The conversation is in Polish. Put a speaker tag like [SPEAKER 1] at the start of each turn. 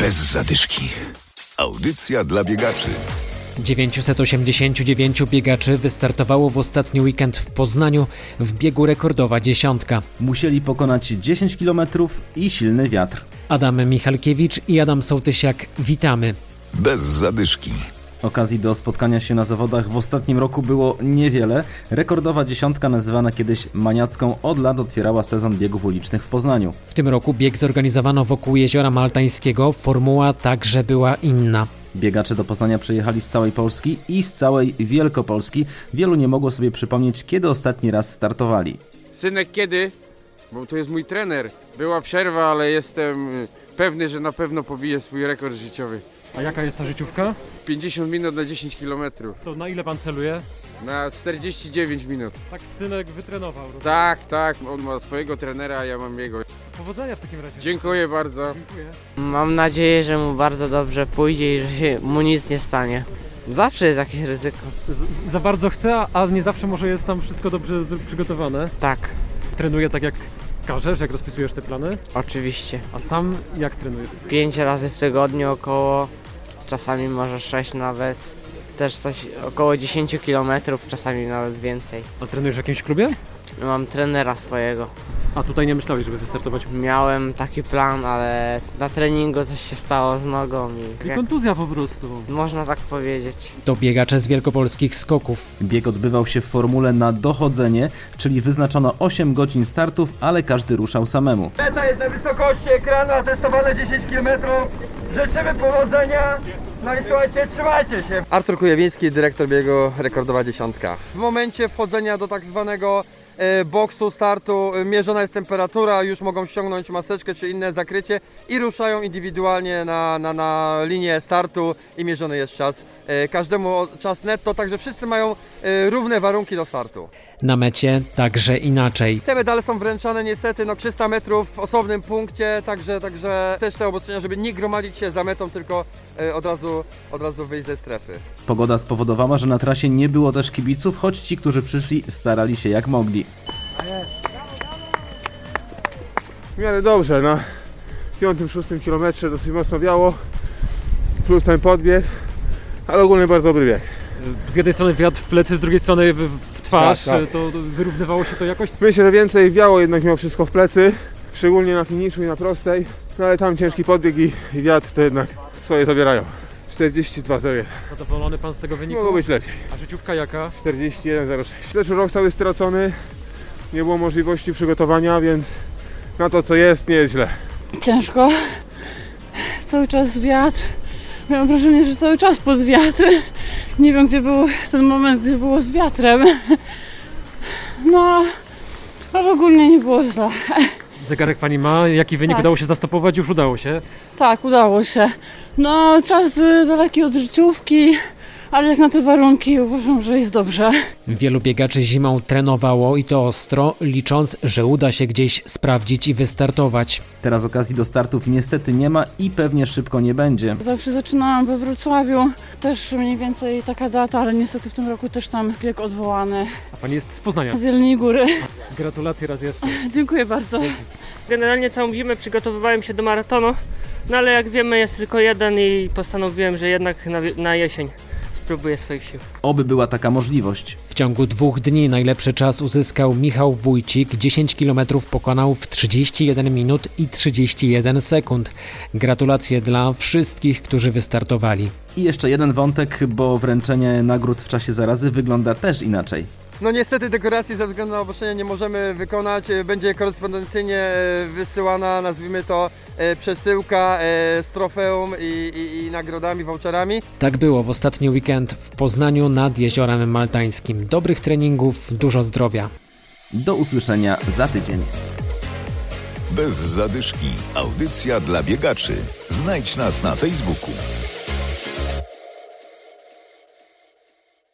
[SPEAKER 1] bez zadyszki. Audycja dla biegaczy.
[SPEAKER 2] 989 biegaczy wystartowało w ostatni weekend w Poznaniu w biegu rekordowa dziesiątka.
[SPEAKER 3] Musieli pokonać 10 km i silny wiatr.
[SPEAKER 2] Adam Michalkiewicz i Adam Sołtysiak, witamy.
[SPEAKER 1] Bez zadyszki.
[SPEAKER 3] Okazji do spotkania się na zawodach w ostatnim roku było niewiele. Rekordowa dziesiątka, nazywana kiedyś maniacką, od lat otwierała sezon biegów ulicznych w Poznaniu.
[SPEAKER 2] W tym roku bieg zorganizowano wokół Jeziora Maltańskiego, formuła także była inna.
[SPEAKER 3] Biegacze do Poznania przyjechali z całej Polski i z całej Wielkopolski. Wielu nie mogło sobie przypomnieć, kiedy ostatni raz startowali.
[SPEAKER 4] Synek kiedy? Bo to jest mój trener. Była przerwa, ale jestem y, pewny, że na pewno pobije swój rekord życiowy.
[SPEAKER 5] A jaka jest ta życiówka?
[SPEAKER 4] 50 minut na 10 km.
[SPEAKER 5] To na ile pan celuje?
[SPEAKER 4] Na 49 minut.
[SPEAKER 5] Tak synek wytrenował. No, rozumiem.
[SPEAKER 4] Tak, tak, on ma swojego trenera, a ja mam jego.
[SPEAKER 5] Powodzenia w takim razie.
[SPEAKER 4] Dziękuję bardzo.
[SPEAKER 5] Dziękuję.
[SPEAKER 6] Mam nadzieję, że mu bardzo dobrze pójdzie i że się mu nic nie stanie. Zawsze jest jakieś ryzyko.
[SPEAKER 5] Z- Za bardzo chce, a- a nie zawsze może jest tam wszystko dobrze z- przygotowane.
[SPEAKER 6] Tak,
[SPEAKER 5] Trenuje tak jak każesz, jak rozpisujesz te plany.
[SPEAKER 6] oczywiście.
[SPEAKER 5] A sam jak trenuje?
[SPEAKER 6] Pięć razy w tygodniu około, czasami może sześć nawet. Też coś około 10 km, czasami nawet więcej.
[SPEAKER 5] A trenujesz w jakimś klubie?
[SPEAKER 6] Mam trenera swojego.
[SPEAKER 5] A tutaj nie myślałeś, żeby wystartować.
[SPEAKER 6] Miałem taki plan, ale na treningu coś się stało z nogą i
[SPEAKER 5] I
[SPEAKER 6] jak,
[SPEAKER 5] kontuzja po prostu.
[SPEAKER 6] można tak powiedzieć.
[SPEAKER 2] To biegacze z wielkopolskich skoków.
[SPEAKER 3] Bieg odbywał się w formule na dochodzenie, czyli wyznaczono 8 godzin startów, ale każdy ruszał samemu.
[SPEAKER 7] Meta jest na wysokości ekranu, testowane 10 km. Życzymy powodzenia. No i słuchajcie, trzymajcie się. Artur Kujawiński, dyrektor biegu Rekordowa
[SPEAKER 4] Tak.
[SPEAKER 7] Dziesiątka. W momencie wchodzenia do tak zwanego e, boksu startu e, mierzona jest temperatura, już mogą ściągnąć maseczkę czy inne zakrycie i ruszają indywidualnie na, na, na linię startu i mierzony jest czas. E, każdemu czas netto, także wszyscy mają e, równe warunki do startu.
[SPEAKER 2] Na mecie także inaczej.
[SPEAKER 7] Te medale są wręczane niestety no 300 metrów w osobnym punkcie, także, także też te obostrzenia, żeby nie gromadzić się za metą, tylko e, od, razu, od razu wyjść ze strefy.
[SPEAKER 3] Pogoda spowodowała, że na trasie nie było też kibiców, choć ci, którzy przyszli, starali się jak mogli.
[SPEAKER 8] w miarę dobrze. Na 5-6 kilometrze dosyć mocno wiało, plus ten podbieg, ale ogólnie bardzo dobry bieg.
[SPEAKER 5] Z jednej strony wiatr w plecy, z drugiej strony w w twarz.
[SPEAKER 8] Tak, tak.
[SPEAKER 5] To wyrównywało się to jakoś.
[SPEAKER 8] Myślę, że więcej wiało jednak mimo wszystko w plecy, szczególnie na finiszu i na prostej, no ale tam ciężki podbieg i, i wiatr to jednak swoje zabierają. 42,01.
[SPEAKER 5] Zadowolony pan z tego
[SPEAKER 8] Nie
[SPEAKER 5] wyniku?
[SPEAKER 8] mogło być lepiej.
[SPEAKER 5] A życiówka jaka?
[SPEAKER 8] 41,06. Też rok cały stracony, nie było możliwości przygotowania, więc na to co jest nie jest źle.
[SPEAKER 9] ciężko. Cały czas wiatr. Miałam wrażenie, że cały czas pod wiatr. Nie wiem, gdzie był ten moment, gdy było z wiatrem. No, ale ogólnie nie było źle.
[SPEAKER 5] Zegarek pani ma? Jaki wynik
[SPEAKER 9] Tak.
[SPEAKER 5] udało się zastopować? Już udało się.
[SPEAKER 9] Tak, udało się. No, czas y, daleki od życiówki, ale jak na te warunki uważam, że jest dobrze.
[SPEAKER 2] Wielu biegaczy zimą trenowało i to ostro, licząc, że uda się gdzieś sprawdzić i wystartować.
[SPEAKER 3] Teraz okazji do startów niestety nie ma i pewnie szybko nie będzie.
[SPEAKER 9] Zawsze zaczynałam we Wrocławiu, też mniej więcej taka data, ale niestety w tym roku też tam bieg odwołany
[SPEAKER 5] A pani jest z Poznania.
[SPEAKER 9] z Jelnej Góry.
[SPEAKER 5] Gratulacje raz jeszcze.
[SPEAKER 9] Dziękuję bardzo.
[SPEAKER 10] Generalnie całą zimę przygotowywałem się do maratonu, no ale jak wiemy jest tylko jeden i postanowiłem, że jednak na, wi- na jesień spróbuję swoich sił.
[SPEAKER 3] Oby była taka możliwość.
[SPEAKER 2] W ciągu dwóch dni najlepszy czas uzyskał Michał Wójcik. 10 km pokonał w 31 minut i 31 sekund. Gratulacje dla wszystkich, którzy wystartowali.
[SPEAKER 3] I jeszcze jeden wątek, bo wręczenie nagród w czasie zarazy wygląda też inaczej.
[SPEAKER 7] No niestety dekoracji ze względu na obostrzenia nie możemy wykonać, E, będzie korespondencyjnie e, wysyłana, nazwijmy to, e, przesyłka e, z trofeum i, i, i nagrodami, voucherami.
[SPEAKER 2] Tak było w ostatni weekend w Poznaniu nad Jeziorem Maltańskim. Dobrych treningów, dużo zdrowia.
[SPEAKER 3] Do usłyszenia za tydzień.
[SPEAKER 1] Bez zadyszki. Audycja dla biegaczy. Znajdź nas na Facebooku.